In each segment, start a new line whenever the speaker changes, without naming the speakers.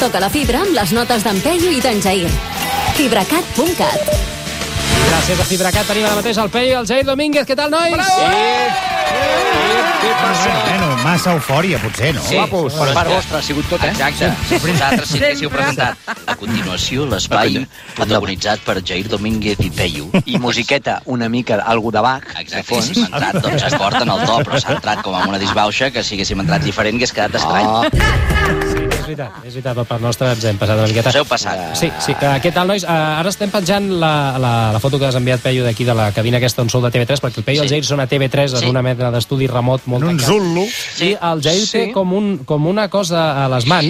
Toca la fibra amb les notes d'en Peyu i d'en Jair. Fibracat.cat
Gràcies a Fibracat tenim ara mateix el Peyu i el Jair Domínguez. Què tal, nois? Bravo!
Què passa?
Bueno, Eh, massa eufòria, potser, no?
Sí, Guapos. per part vostra ha sigut tot, eh?
Exacte. Vosaltres sí que sieu presentat. A continuació, l'espai protagonitzat per Jair Domínguez i Peyu.
I musiqueta, una mica, algú de Bach, de
Exacte,
fons.
si entrat, doncs es porten al top, però s'ha entrat com amb una disbauxa, que si haguéssim entrat diferent hagués quedat estrany.
Ah.
Oh.
És veritat, és veritat, per part nostra ens hem passat una miqueta.
Us heu
Eh,
passat.
Sí, sí. Uh, què tal, nois? Uh, ara estem penjant la, la, la foto que has enviat, Peyu, d'aquí, de la cabina aquesta on sou de TV3, perquè el Peyu i el
Sí.
Jair són a TV3 en
Sí.
una mena d'estudi remot molt
En un
tancat.
zullo.
Sí, el Jair
Sí.
té com, un, com una cosa a les mans.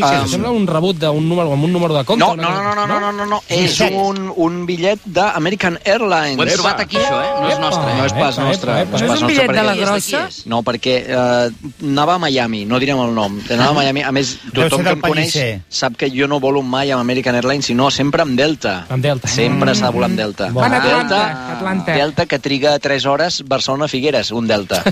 Sí, sí,
Em
sí.
Sembla un rebut d'un número, amb un número de compte.
No,
una
no,
cosa-
no, no, no, no, no, no. És
Sí.
un, un bitllet d'American Airlines.
Ho hem trobat aquí, això, eh?
Oh.
No és nostre.
Epa.
No és pas
Epa,
nostre.
epa, epa.
pas
No
és un
nostre,
bitllet de
perquè-
la grossa?
No, perquè eh, anava a Miami, no direm el nom. Anava a Miami. A més,
Deu
tothom
ser
que
del
em coneix
Pellicer.
sap que jo no volo mai amb American Airlines, sinó sempre amb Delta.
Amb Delta.
Sempre s'ha de volar amb Delta.
Bon.
Van a
Delta,
Atlanta, Atlanta.
Delta que triga 3 hores Barcelona-Figueres, un Delta.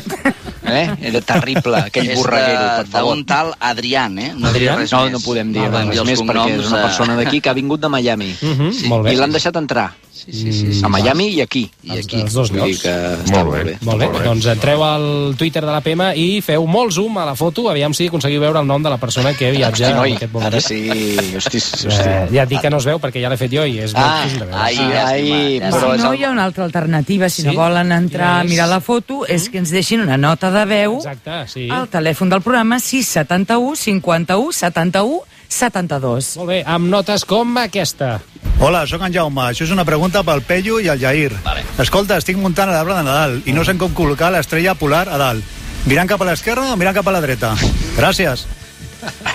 Eh? Era terrible, aquell
És
borreguero, per
de-
favor.
d'un tal Adrián, eh? No diré res
No,
més.
no podem dir
podem
res
els
més perquè
cognoms,
és una
eh,
persona d'aquí que ha vingut de Miami.
Mhm, molt bé.
I l'han deixat entrar.
Sí, sí, sí, sí.
A Miami i aquí.
Els-
I aquí.
els dos
Vull
llocs.
dir Que està molt bé.
Molt bé, doncs entreu al Twitter de l'APM i feu molt zoom a la foto, aviam si aconseguiu veure el nom de la persona que viatja
Hosti,
en
noi,
aquest
ara
moment.
sí... Hosti, hosti.
Eh, ja et dic que no es veu perquè ja l'he fet jo i és molt
Ah,
difícil de veure.
ai,
ai,
llàstima.
però
si
és
no,
el-
hi ha una altra alternativa. Si sí?
Sí?
no volen entrar a
Quina és?
mirar la foto, és que ens deixin una nota de veu
Exacte, sí.
al telèfon del programa 671 51 71 72.
Molt bé, amb notes com aquesta.
Hola, sóc en Jaume. Això és una pregunta pel Pello i el Jair.
Vale.
Escolta, estic muntant a l'arbre de Nadal i no sé com col·locar l'estrella polar a dalt. Mirant cap a l'esquerra o mirant cap a la dreta? Gràcies.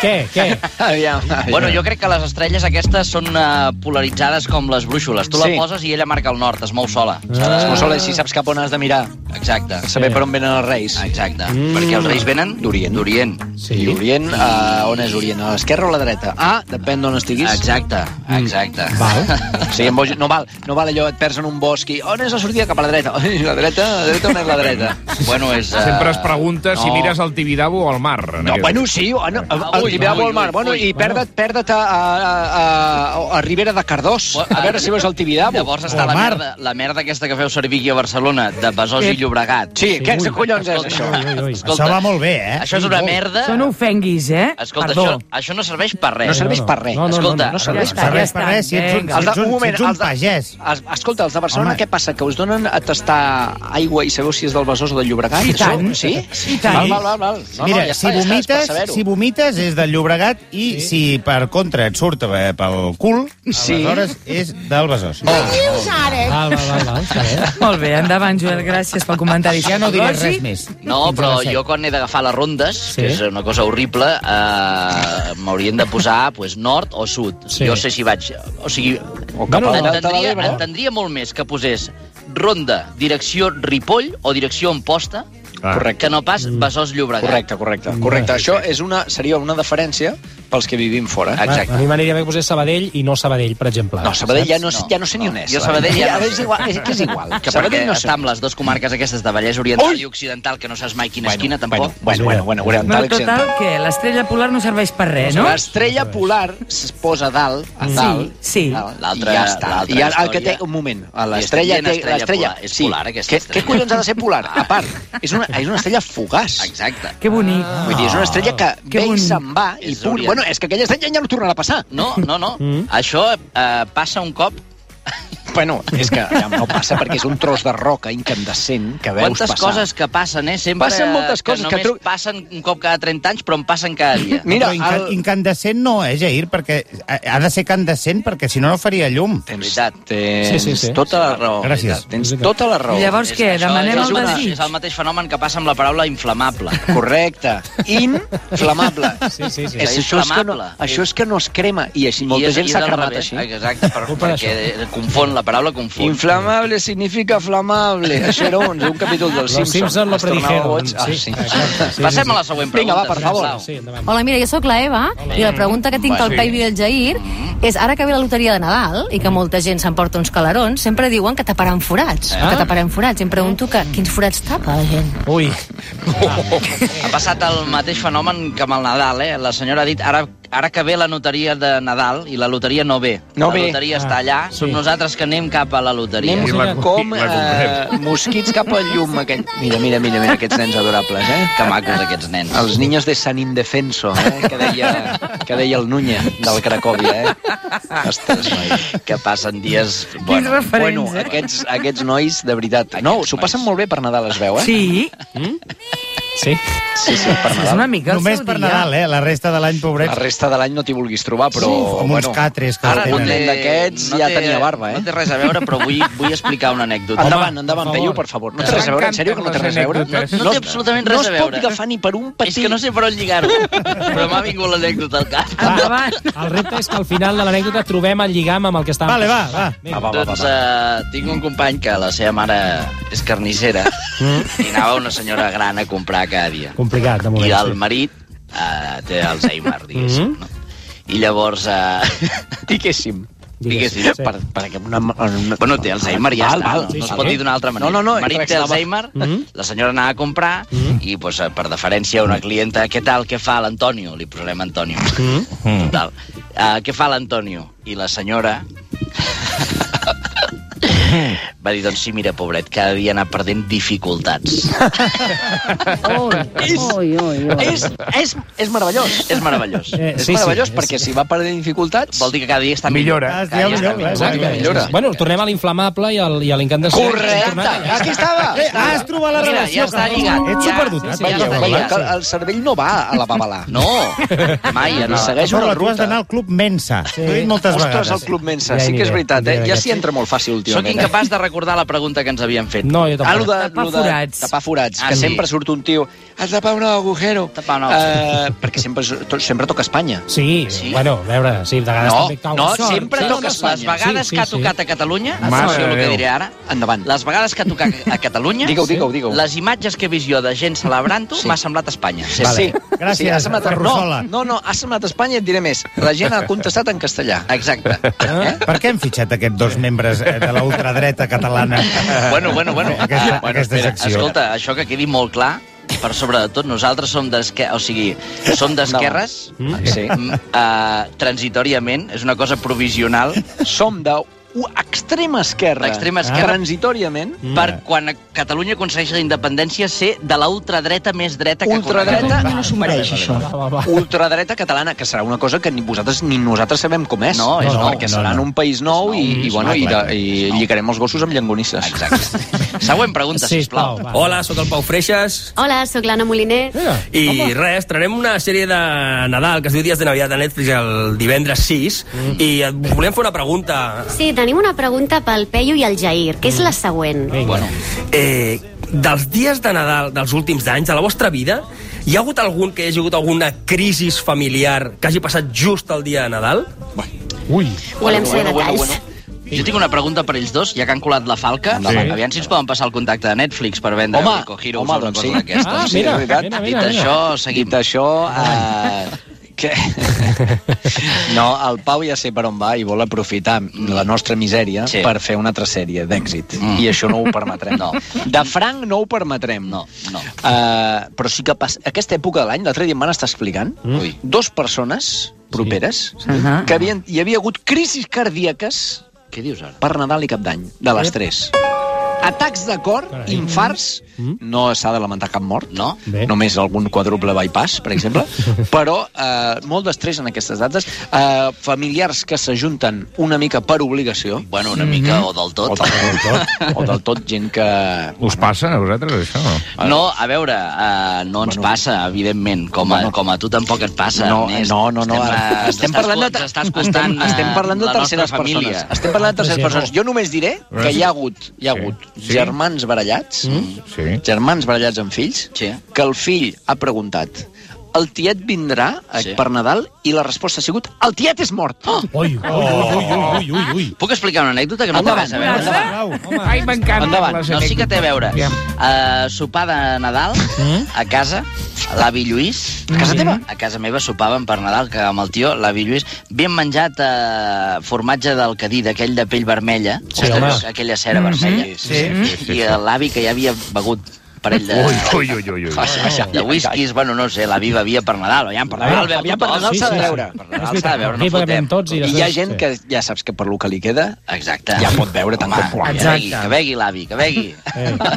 Què, què?
Aviam, aviam.
Bueno, jo crec que les estrelles aquestes són eh, polaritzades com les brúixoles. Tu la
Sí.
poses i ella marca el nord, es mou sola.
Es consola així, saps cap on has de mirar.
Ah. Exacte.
Saber per on venen els reis.
Exacte.
Mm.
Perquè els reis venen
D'Orient.
D'Orient.
I Orient, eh, on és Orient? A l'esquerra o a la dreta? Ah, depèn d'on estiguis. Mm.
Exacte, exacte.
Val.
O sigui, en boig, no, val, no val allò, et perds en un bosc i on és la sortida? Cap a la dreta. Ai, la dreta, la dreta, on és la dreta?
Bueno, és... eh,
Sempre es pregunta si mires al Tibidabo o al mar. en
No,
aquest-
bueno, sí, o no, el
Ui,
Tibidabo
ui,
al mar.
ui,
Bueno,
ui,
i perda't, perda't a, a, a, a Ribera de Cardós, a veure si veus el Tibidabo.
Llavors està la merda, la merda aquesta que feu servir aquí a Barcelona, de Besòs i Llobregat.
Sí, què
ui.
collons és això?
Ui, ui, ui.
Escolta,
Això va molt bé, eh?
Això és una merda.
Això no ofenguis, eh?
Escolta,
Perdó.
això, això no serveix per res.
No serveix per res.
No, no, no,
Escolta,
no, no
Ja
serveix.
està, ja està. Vinga.
Els de- un moment, els de-
pagès.
Es, escolta, els de Barcelona,
Home.
què passa? Que us donen a tastar aigua i sabeu si és del Besòs o del Llobregat?
I tant.
Això? Sí?
I tant.
Val, val, val. val. No,
Mira,
no, ja
si,
està, ja està, és per
vomites,
saber-ho.
si vomites és del Llobregat i sí. si per contra et surt eh, pel cul,
Sí.
aleshores és del Besòs.
Ah, Val, val, val, val, està bé.
Molt bé, endavant, Joel, gràcies pel comentari.
Ja no diré res
Lògic.
més.
No, però jo quan he d'agafar les rondes, sí.
Sí.
que és una cosa horrible, eh, m'haurien de posar pues, nord o sud.
Sí.
Sí. Jo sé si vaig... O sigui,
O cap
Bueno,
a la Delta de
entendria,
l'Ebre.
entendria molt més que posés ronda, direcció Ripoll o direcció Amposta,
Ah.
Correcte.
que no pas Besòs Llobregat.
Correcte, correcte. Correcte. Això és una, seria una deferència pels que vivim fora.
A mi m'aniria bé que posés Sabadell i no Sabadell, per exemple.
No, Sabadell ja no, ja no sé ni on és. eh?
Jo Sabadell ja no
és igual, és, que és igual.
Que perquè
Sabadell no
està
sé.
amb les dues comarques aquestes de Vallès Oriental
Ui!
i Occidental, que no saps mai quina esquina, tampoc.
Bueno, bueno, bueno, bueno, bueno,
Bueno, total, que l'estrella polar no serveix per res, no?
L'estrella polar es posa a dalt, a dalt,
sí.
a dalt,
L'altra-
i ja està.
l'altra
I ara, el que té,
història-
un moment, a l'estrella...
I
té-
estic dient estrella polar, és polar, aquesta
Què,
estrella.
què collons ha de ser polar? A part, és una, és una estrella fugaç.
Exacte.
Que bonic.
Ah. Vull dir, és una estrella que
Que
ve i
bonic.
se'n va i
És
punt.
orient.
Bueno, és que aquella estrella ja no tornarà a passar.
No, no, no. Mm. Això eh, passa un cop
Bueno, és que ja no passa perquè és un tros de roca incandescent que veus
Quantes
passar.
coses que passen, eh? Sempre
Passen moltes coses
que
que
només
tru-
passen un cop cada 30 anys, però em passen cada dia.
Mira,
Mira,
però
el-
el... incandescent no, eh, Jair? Perquè ha ha de ser candescent, perquè si no, no faria llum.
Tens,
Veritat.
tens
Sí, sí, sí.
tota la raó.
Gràcies.
veritat. Tens tota la raó.
I llavors què?
Això
Demanem
és
el
una-
desig?
És el mateix fenomen que passa amb la paraula inflamable.
Correcte. Inflamable.
Sí, sí, sí.
És, això, és que no,
Inflamable.
això és que no es crema i així molta
és-
gent
és
s'ha
al
cremat
revés.
així.
Exacte, per,
Culpa
perquè confon, la paraula confon.
Inflamable significa flamable. Això era un, un capítol del
Los
Simpson.
Simpsons lo
Es tornava
predijeron.
boig. Ah,
Sí,
sí.
exacte, sí,
Passem
sí,
a la següent
Vinga,
pregunta.
va, per favor.
sisplau.
Sí, endavant.
Hola, mira, jo sóc la Eva i la pregunta que tinc del Paivi i el Jair és ara que ve la loteria de Nadal i que molta gent s'emporta uns calarons, sempre diuen que taparan forats, que taparan forats. I em pregunto que quins forats tapa la gent.
Ui,
Ha passat el mateix fenomen que amb el Nadal, eh? La senyora ha dit, ara ara que ve la loteria de Nadal i la loteria no ve.
No
la
ve.
loteria
Ah,
està allà,
sí.
som nosaltres que anem cap a la loteria.
Anem
I la-
com
i la comprem.
eh, mosquits cap al llum. Aquest... Mira, mira, mira, mira, aquests nens adorables, eh?
Que macos aquests nens.
Els niños de San Indefenso, eh? que, deia, que deia el Núñez del Cracòvia. Eh? Ostres, noi.
que passen dies...
Quins referents,
Bueno,
eh?
aquests, aquests nois, de veritat. No, s'ho passen molt bé per Nadal, es veu, eh?
Sí,
Sí?
sí, sí per
és
Nadal.
una mica el
Només
seu
per
dia.
Nadal, eh? La resta de l'any, pobret.
La resta de l'any no t'hi vulguis trobar, però...
Sí, amb uns catres que
ara
els
un
tenen.
nen d'aquests ja
té-
tenia barba,
No
eh?
té res a veure, però vull, vull explicar una anècdota.
Endavant,
Home,
endavant,
per
Peyu,
favor.
per favor. No té res a veure, en sèrio que no té res a veure?
No-
no té absolutament res a
No es
veure.
pot agafar ni per un
És
petit.
que no sé per on lligar-ho, però m'ha vingut l'anècdota al cap.
Ah,
Endavant.
El repte és que al final de l'anècdota trobem el lligam amb el que estàvem...
Vale, va, va.
Va, va, va, va,
doncs
va.
eh, tinc un company que la seva mare és carnissera
Mm.
i anava una senyora gran a comprar cada dia.
Complicat, de moment.
I el
sí.
marit eh, té Alzheimer, diguéssim.
Mm-hmm.
Mhm.
no? I llavors... Eh,
Diguéssim.
diguéssim,
Diguéssim, sí.
Per, perquè una, una...
Bueno, té Alzheimer, ja
Val,
està.
val,
no,
sí,
no es
sí.
pot dir d'una altra manera.
No, no, no,
El marit té
estava- Mm -hmm.
Alzheimer,
Mhm.
la senyora anava a comprar i, pues, eh, per deferència, una clienta, què tal, què fa l'Antonio? Li posarem Antonio.
Mm -hmm.
Total. Uh, què fa l'Antonio? I la senyora va dir, doncs sí, mira, pobret, cada dia anar perdent dificultats.
Oi, oi, oi.
És, és, és meravellós.
És meravellós.
Eh,
és meravellós perquè
és-
si va perdre dificultats...
Vol dir que cada dia està millor.
Millora.
Ah,
Has dit el millor, clar,
Exacte,
exacte.
millora.
Bueno, tornem a l'inflamable i, al, i a l'incandescent.
Correcte!
Aquí estava!
Eh, has trobat la
Mira, ja
relació.
està
Carles.
lligat,
Ets
ja.
superdotat.
Sí, sí, ja
per
està
favor.
lligat.
Que el- el cervell no va a la babalà.
No, mai. No.
Li segueix
Però
una
tu has
ruta.
d'anar al Club Mensa. Sí. Ho he dit moltes
Ostres,
vegades.
el Club Mensa,
Ja hi
sí que és
aniré,
veritat, eh?
aniré
Ja
d'aquest.
s'hi entra molt fàcil,
Sóc
últimament.
incapaç de recordar la pregunta que ens havien fet.
No, jo
Ah, lo
tampoc.
de,
Tapar
lo de
forats.
tapar forats,
Ah,
que
sí.
sempre surt un tio... Has tapat un agujero.
Tapar un
Eh, perquè sempre, to- sempre toca Espanya.
Sí,
Sí?
bueno, a veure, sí, de vegades
No,
també cau.
No,
sort.
sempre
Sí,
toca
no,
les vegades
sí,
que ha
sí.
tocat a Catalunya,
Mare
atenció
de
el que
Déu.
diré ara,
Endavant.
les vegades que ha tocat a Catalunya,
Digue-ho, digue-ho, digue-ho.
les imatges que he vist jo de gent celebrant-ho
Sí.
m'ha semblat Espanya.
Sí,
Vale.
sí.
Gràcies,
sí, ha semblat...
Ferrusola.
No, no, no, ha semblat Espanya i et diré més. La gent ha contestat en castellà.
Exacte.
Ah.
Eh? Per què hem fitxat aquests dos membres eh, de la ultradreta catalana?
Bueno, bueno, bueno.
Aquesta,
Ah, bueno,
aquesta
espera,
secció.
Escolta, això que quedi molt clar, per sobre de tot, nosaltres som d'esquerra... O sigui, som d'esquerres,
No. Sí.
mm, eh, transitoriament, és una cosa provisional,
Som de u- extrema esquerra.
L'extrema esquerra. Mm.
Transitòriament.
per quan Catalunya aconsegueix la independència ser de l'ultradreta més dreta que
Ultradreta,
coneguem.
No s'ho mereix, això.
ultradreta catalana, que serà una cosa que ni vosaltres ni nosaltres sabem com és.
No, és nou.
perquè
no,
serà
no.
un país nou i, i, bueno, i, de, i lligarem els gossos amb llangonisses.
Exacte. Següent pregunta, sisplau.
Sisplau, va.
Hola, sóc el Pau Freixas
Hola, sóc l'Anna Moliner.
Mira,
i res, traurem una sèrie de Nadal que es diu Dies de Navidad a Netflix el divendres 6 mm. i et volem fer una pregunta Mm.
Sí, tenim una pregunta pel Peyu i el Jair, que és la següent.
Vinga.
eh, dels dies de Nadal dels últims anys de la vostra vida hi ha hagut algun que hi hagi hagut alguna crisi familiar que hagi passat just el dia de Nadal?
Ui.
Volem saber detalls.
Jo tinc una pregunta per ells dos, ja que han colat la falca. Sí. Aviam si ens poden passar el contacte de Netflix per vendre
Home,
Rico Heroes o
home,
una
doncs
cosa
sí.
d'aquestes.
Ah,
sí,
mira,
és
mira,
veritat.
mira,
Dit
mira.
això,
Dit
seguim.
això, eh, que... No, el Pau ja sé per on va i vol aprofitar la nostra misèria
Sí.
sí. per fer una altra sèrie d'èxit. Mm. I això no ho permetrem. No. De franc no ho permetrem.
No, no.
Uh, però sí que pas... aquesta època de l'any, l'altre dia em van estar explicant,
Mm.
mm. dos persones properes sí.
Ahà.
que havien... hi havia hagut crisis cardíaques
Què dius ara? Eh?
per Nadal i Cap d'Any, de les 3. Atacs de cor,
Carai.
infarts, no s'ha de lamentar cap mort, no?
Bé.
Només algun quadruple bypass, per exemple, però eh, molt d'estrès en aquestes dates, eh, familiars que s'ajunten una mica per obligació,
Bueno, una mica o del
Mm-hmm. o
tot.
del, o del tot, o del tot gent que...
Us passa a vosaltres, això?
No, a veure, uh, no ens passa, evidentment, com a, com a tu tampoc et passa,
No,
Ernest.
no, no, no,
Estem,
ara-
eh, ens
estem
estàs
parlant de-
co- ens Estàs costant
Estem, estem
eh,
parlant de
la nostra
terceres
família.
persones. Estem parlant de terceres
Sí,
persones. Jo només diré que hi ha hagut, hi
Sí.
ha hagut
Sí.
germans barallats,
Sí.
germans barallats amb fills,
Sí.
que el fill ha preguntat el tiet vindrà eh,
Sí.
per Nadal i la resposta ha sigut el tiet és mort. Oh!
Ui, ui, ui, ui, ui, ui.
Puc explicar una anècdota que no té
Endavant,
res a veure?
endavant.
Home,
Ai, m'encanta.
Endavant.
les
No, sí que té a veure.
Aviam.
Uh, sopar de Nadal, a casa, l'avi Lluís... A casa teva? A casa meva sopaven per Nadal, que amb el tio, l'avi Lluís, havien menjat uh, formatge del cadí, d'aquell de pell vermella,
Sí,
ostres,
home.
aquella cera vermella. eh,
Sí, sí,
I l'avi, que ja havia begut parell de...
Ui, ui, ui, ui, ui.
Baixa, baixa. Ah, De whiskies, bueno, no sé, la viva via per Nadal. Aviam, per Nadal, veu,
Aviam, Ah, per Nadal s'ha de veure.
Per Nadal s'ha de veure, no
Aquí bevem
fotem.
tots i,
I
després...
hi ha gent que ja saps que per lo que li queda
Exacte.
ja pot veure tant
Home,
com vulgui.
que begui, que begui l'avi, que begui.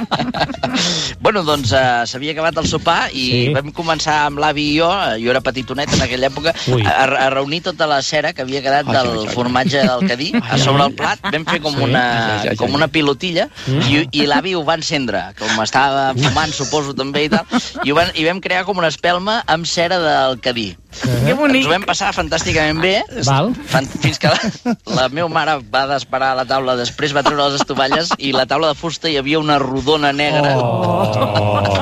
bueno, doncs eh, s'havia acabat el sopar i sí.
Sí.
vam començar amb l'avi i jo, eh, jo era petitonet en aquella època,
Ui.
a, a reunir tota la cera que havia quedat
Ai,
del
ai, ai.
formatge del cadí a sobre el plat, vam fer com
Sí.
una,
Ai, ai, ai,
com
ai.
una pilotilla i, i l'avi ho va encendre, com estava fumant, suposo, també, i tal, i, ho van, i vam crear com una espelma amb cera del cadí.
Que
Ens
bonic.
ho vam passar fantàsticament bé.
Val.
Fan- Fins que la, la meva mare va desparar a la taula, després va treure les estovalles i la taula de fusta hi havia una rodona negra.
Oh.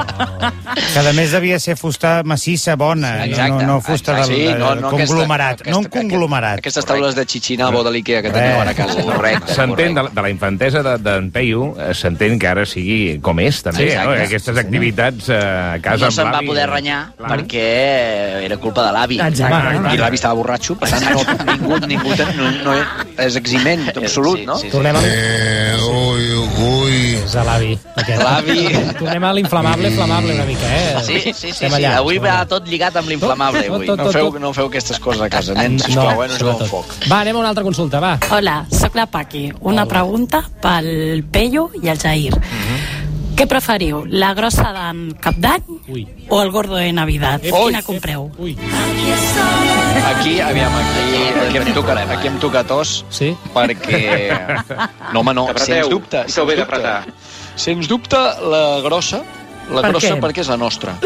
Cada més devia ser fusta massissa bona,
Exacte,
Eh, no, no, no fusta del,
exacte.
del conglomerat, no un conglomerat.
Aquestes taules de xixinabo de l'Ikea que teniu ara a casa.
Correcte,
S'entén de,
correcte.
la- de la infantesa de- d'en de, Peyu, eh, s'entén que ara sigui com és, també,
Sí,
sí, no?
exacte.
Aquestes activitats eh, a casa...
No
amb
se'n va
l'avi. eh?
poder renyar
Clar.
perquè era culpa de l'avi.
Exacte.
I l'avi estava borratxo, per tant, no, ningú, ningú ten, no, no és eximent absolut, no?
Sí, sí,
Tornem a... Eh, ui, ui. És a l'avi. aquest.
L'avi...
Tornem a l'inflamable, flamable una mica, eh?
Ah, sí, sí, sí, sí,
Estem
sí.
allà.
Avui va tot lligat amb l'inflamable, avui.
Tot, tot,
No feu, no feu aquestes coses a casa, nens, sisplau, eh? No jugueu amb foc.
Va, anem a una altra consulta, va.
Hola, sóc la Paqui. Una Hola. pregunta pel Pello i el Jair. Mm
Mhm.
-hmm. Què preferiu, la grossa d'en Cap d'Any
Ui.
o el gordo de Navidad? Ui. Quina compreu?
Ui.
Aquí, aviam, aquí, aquí em toca, aquí em toca tos,
Sí?
perquè... No, home, no, sens dubte. Sens dubte, sens dubte la grossa, la
Per
grossa
què?
perquè és la nostra.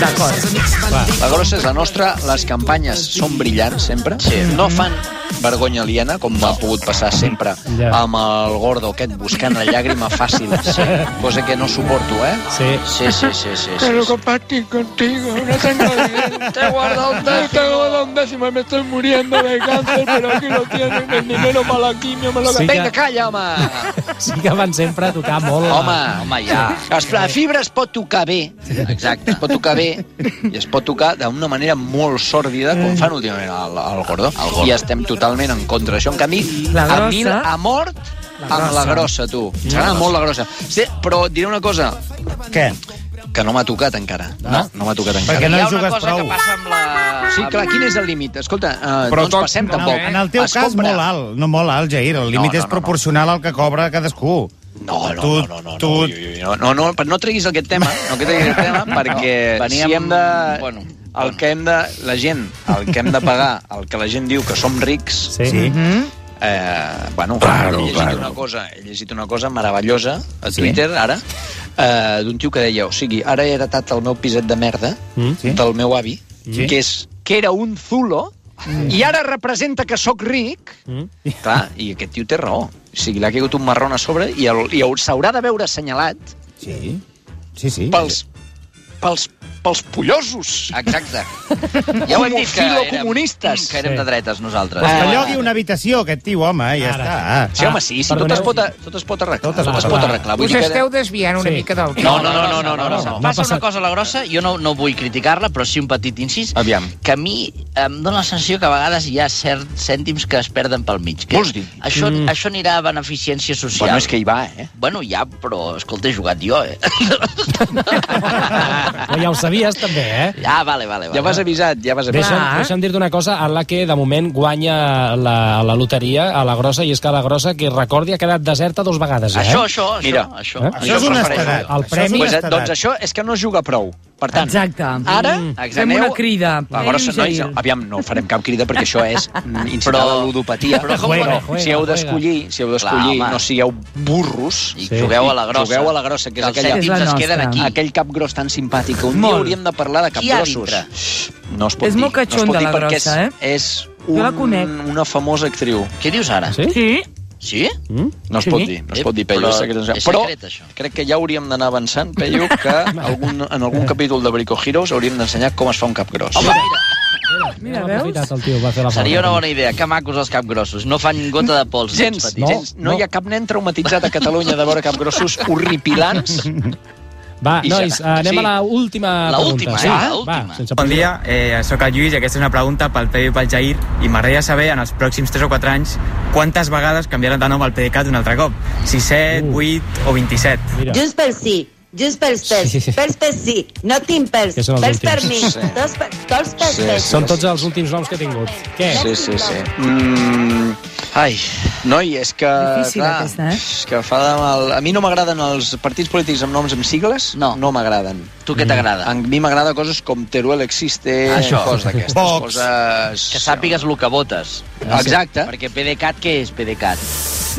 D'acord.
La grossa és la nostra, les campanyes són brillants sempre, sí. no fan vergonya aliena, com ha pogut passar sempre
Ja.
amb el gordo aquest buscant la llàgrima fàcil, sí. cosa que no suporto, eh?
Sí.
Sí, sí, sí, sí. sí, sí.
compartir contigo, no tengo dinero.
Te he guardado un décimo.
un décimo, me estoy muriendo de cáncer, pero aquí lo tienen, el dinero para la quimio, me lo
Sí
Vinga,
que,
calla, home!
sí que van sempre a tocar molt. la-
Home,
Home, ja.
Es, la fibra es pot tocar bé, exacte, es pot tocar bé i es pot tocar d'una manera molt sòrdida com fan últimament al, al Gordo. I estem totalment en contra d'això. En canvi,
La
a mi
grossa.
a mort amb la grossa, tu. M'agrada molt la grossa. Sí, però diré una cosa,
Què?
que no m'ha tocat encara.
Ah.
No, no m'ha tocat encara.
Perquè no
Hi
hi
ha una
jugues
cosa
prou.
que passa amb la...
Sí, clar, quin és el límit? Escolta, eh,
Però
no ens
tot-
passem
no,
tampoc.
eh?
En el teu
Es
cas,
compra.
molt alt, no molt alt, Jair. El límit
no,
és
no, no.
proporcional al que cobra cadascú.
No, no,
Tu-
no, no, no,
tu-
no, ui, ui, no, no, no, no treguis aquest tema, no que treguis aquest tema, perquè no,
veníem-
si hem de...
bueno,
Bueno, el que hem de... La gent, el que hem de pagar, el que la gent diu que som rics,
Sí. sí.
eh, bueno,
Claro,
he, llegit
claro.
Una cosa, he llegit una cosa meravellosa a Twitter, ara, eh, d'un tio que deia, o sigui, ara he heretat el meu piset de merda
Mm.
sí? del meu avi, sí? que, és, que era un zulo, mm. i ara representa que sóc ric,
Mm.
Clar, i aquest tio té raó. O sigui, l'ha caigut un marrón a sobre i, el- i el- s'haurà de veure assenyalat
Sí, sí, sí.
pels, pels, pels pollosos.
Exacte.
Ja ho hem dit que comunistes.
Que érem de dretes, nosaltres.
Pues que llogui una habitació, aquest tio, home, eh, ja
Ara.
està.
Sí, home, sí, sí tot,
perdoneu.
es pot, a- tot es pot arreglar.
Tot es pot
pot
arreglar.
arreglar. Vull dir que...
desviant
una Sí. mica
del...
No, no, no, no,
no,
no, no, no,
no,
no.
m'ha
Passa una
passat.
cosa a la grossa, jo no, no vull criticar-la, però sí un petit incís,
Aviam.
que a mi em dóna la sensació que a vegades hi ha certs cèntims que es perden pel mig. Que
Vols dir?
Això, mm. això anirà a beneficència social.
Però no és que hi va, eh?
Bueno, ja, però, escolta, he jugat jo, eh?
Però ja ho sabies, també, eh?
ja, vale, vale. vale.
Ja vas avisat, ja vas avisat.
Deixa'm, deixa'm dir-te una cosa en la que de moment guanya la, la loteria a la grossa i és que la grossa que recordi ha quedat deserta dos vegades eh?
Això, això, això.
Mira.
això.
Eh?
Això és
em
jo.
refereixo
honestedat.
El
Això és
premi-
Pues, eh,
honestedat.
doncs això és que no es juga prou. Per tant,
Exacte.
ara...
Fem
aneu-
una crida.
La grossa, nois, aviam, no farem cap crida perquè això és mm, incitar a la ludopatia.
Però com
Juega,
que-
juega,
si heu
juega.
d'escollir, si heu
Clar,
d'escollir,
home.
no sigueu burros
I
Sí.
jugueu a la grossa.
Jugueu a la grossa, que és
els
aquella-
És la
cèntims es
nostra.
queden aquí.
i aquell cap gros tan simpàtic que un Molt. dia hauríem de parlar de cap
Qui hi ha
grossos.
dintre?
No es pot
És
dir.
molt catxonda,
no es pot dir
la
perquè
grossa, eh?
és, és un,
Jo la conec.
una famosa actriu.
Què dius ara?
Sí?
Sí?
Sí?
Mm?
No es
Sí.
pot dir, no es pot dir, Peyu.
Però
és secret,
és
Eh, però
secret, això.
crec que ja hauríem d'anar avançant, Peyu, que algun, en algun capítol de Brico Heroes hauríem d'ensenyar com es fa un cap gros.
Home, mira,
Mira,
Ha
veus?
aprofitat el tio, va fer la
seria
falta.
una bona idea. Que macos els capgrossos. No fan gota de pols.
Gens,
aquests
no,
petits.
gens, no, hi ha cap nen traumatitzat a Catalunya de veure capgrossos horripilants.
Va,
I
nois, eh,
ja.
anem
Sí.
a la última
La
pregunta.
última,
sí?
eh? La última.
Va, sense
Bon dia, eh, sóc el Lluís i aquesta és una pregunta pel Peyu i pel Jair i m'agradaria saber en els pròxims 3 o 4 anys quantes
Uh.
vegades canviaran de nom al PDeCAT un altre cop, si 7, 8 o 27.
Mira.
Junts pel sí,
Just pels pes. Sí. Pels pes sí. No tinc pels.
Que són
Pels
els
per mi.
últims. Sí.
Tots, per, tots pels
Sí,
pes.
sí.
Són tots els últims noms que he tingut. Què?
Sí, sí, sí. Mm, ai, noi, és que...
Difícil, aquesta, eh?
és que fa de mal... A mi no m'agraden els partits polítics amb noms amb sigles. No. No m'agraden.
Tu què t'agrada?
A mi m'agrada coses com Teruel existe,
Això.
coses d'aquestes.
Vox.
Coses...
Que sàpigues el que votes.
Exacte.
Perquè PDeCAT, què és PDeCAT?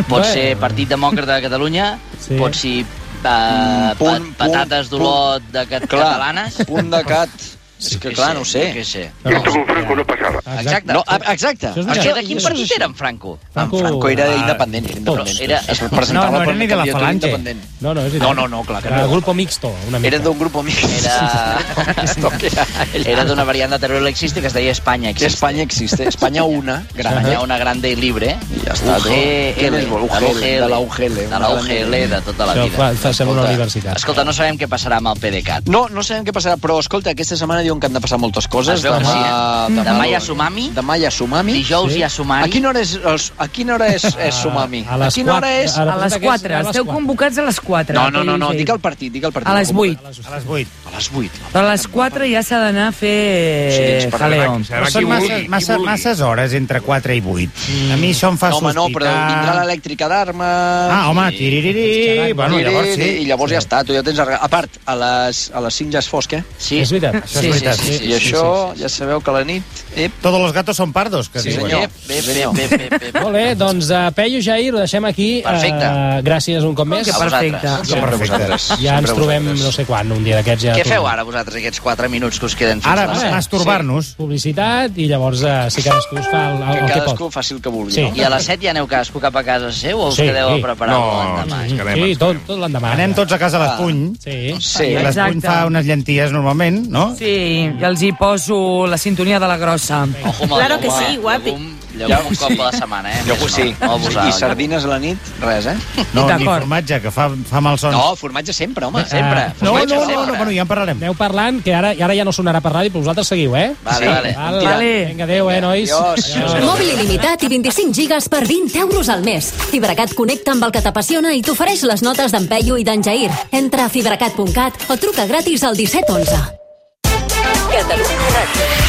Pot
Bé.
ser Partit Demòcrata de Catalunya,
Sí.
sí. pot ser uh,
Mm, punt,
pa patates
punt,
d'olot de cat
Clar,
catalanes.
punt de cat. És que clar, no ho sé.
Què sé.
Exacte. No, a- exacte.
Això és veritat. Això de quin partit era en Franco?
Franco, Franco era independent. era independent. Era, es presentava
No, no era
per
ni
una
de la
candidatura
Falange.
independent.
Oh, No, no, és
No, no, no, clar que
Era
no.
grupo mixto, una mica.
Era d'un grup amic. Era...
Ah, Era d'una variant de Teruel Existe que es deia Espanya Existe.
Espanya Existe. Espanya una. Gran.
Espanya una grande i libre.
I ja està, tu. Què
UGL.
més vol? UGL, de la UGL,
De la UGL, de tota la
Això
vida.
fa, fa sembla una universitat.
Escolta, no sabem què passarà amb el PDeCAT.
No, no sabem què passarà, però escolta, aquesta setmana diuen que han de passar moltes coses.
Es veu que sí, eh? Demà hi ha
Sumami. Demà hi ha Sumami.
Dijous Sí. hi ha Sumari.
A quina hora és, els, a quina hora és, és Sumami?
a les
quina
quatre-
hora és?
A les 4. Esteu convocats a les 4.
No, no, no, no, dic el partit, dic el partit.
A les
Com-
8.
A les 8. A les 8.
Però a les 4 ja s'ha d'anar a fer jaleo.
Però són masses, masses, masses hores entre 4 i 8. A mi això em fa
Mm. No, home,
sospitar...
no, però vindrà l'elèctrica d'armes...
Ah, home,
i-
tiririri... Bueno, llavors sí.
I llavors ja està, tu ja tens... arreglat. A part, a les, a les 5 ja és fosc, eh?
Sí.
És veritat. Això és
Sí,
veritat.
Sí, sí, sí,
Sí,
I
sí,
això, ja sabeu que a la nit... Ep.
Todos los gatos son pardos, que
Sí,
diuen.
senyor. Sí, senyor.
Molt bé, doncs uh, Peyu Jair, ho deixem aquí.
Perfecte.
Eh, gràcies un cop més.
que perfecte.
Ja-
Sempre a vosaltres.
Ja ens
Sempre a
trobem
vosaltres.
no sé quan, un dia d'aquests. Ja
Què feu
tornem.
ara vosaltres aquests 4 minuts que us queden fins
Ara,
a les
masturbar-nos. Sí. Publicitat i llavors eh, si cadascú es fa el, el, el que pot.
Cadascú faci el que vulgui.
Sí.
I a les 7 ja aneu cadascú cap a casa seu o us
Sí,
quedeu
sí.
a preparar
No,
l'endemà?
ens quedem, Sí, tot, tot l'endemà.
Anem tots a casa a
Ah.
l'Espuny.
Sí.
Sí. L'Espuny
Exacte.
fa unes llenties normalment, no?
Sí, i els hi poso la sintonia de la grossa.
Claro que sí, guapi. Llavors un cop a la setmana, eh?
Llavors sí.
No, vos-
I sardines a la nit, res, eh?
No, ni formatge, que fa, fa mal son.
No, formatge sempre, home.
Sempre.
Ah. No, no,
Formatge
no, no,
sempre.
bueno, ja en parlarem.
Aneu parlant, que ara, ara ja no sonarà per ràdio, però vosaltres seguiu, eh?
Vale, vale.
Val?
Vale.
Vinga, adéu, eh, nois?
Adiós.
Mòbil il·limitat i 25 gigas per 20 euros al mes. Fibracat connecta amb el que t'apassiona i t'ofereix les notes d'en Peyu i d'en Jair. Entra a fibracat.cat o truca gratis al 1711. Catalunya Ràdio.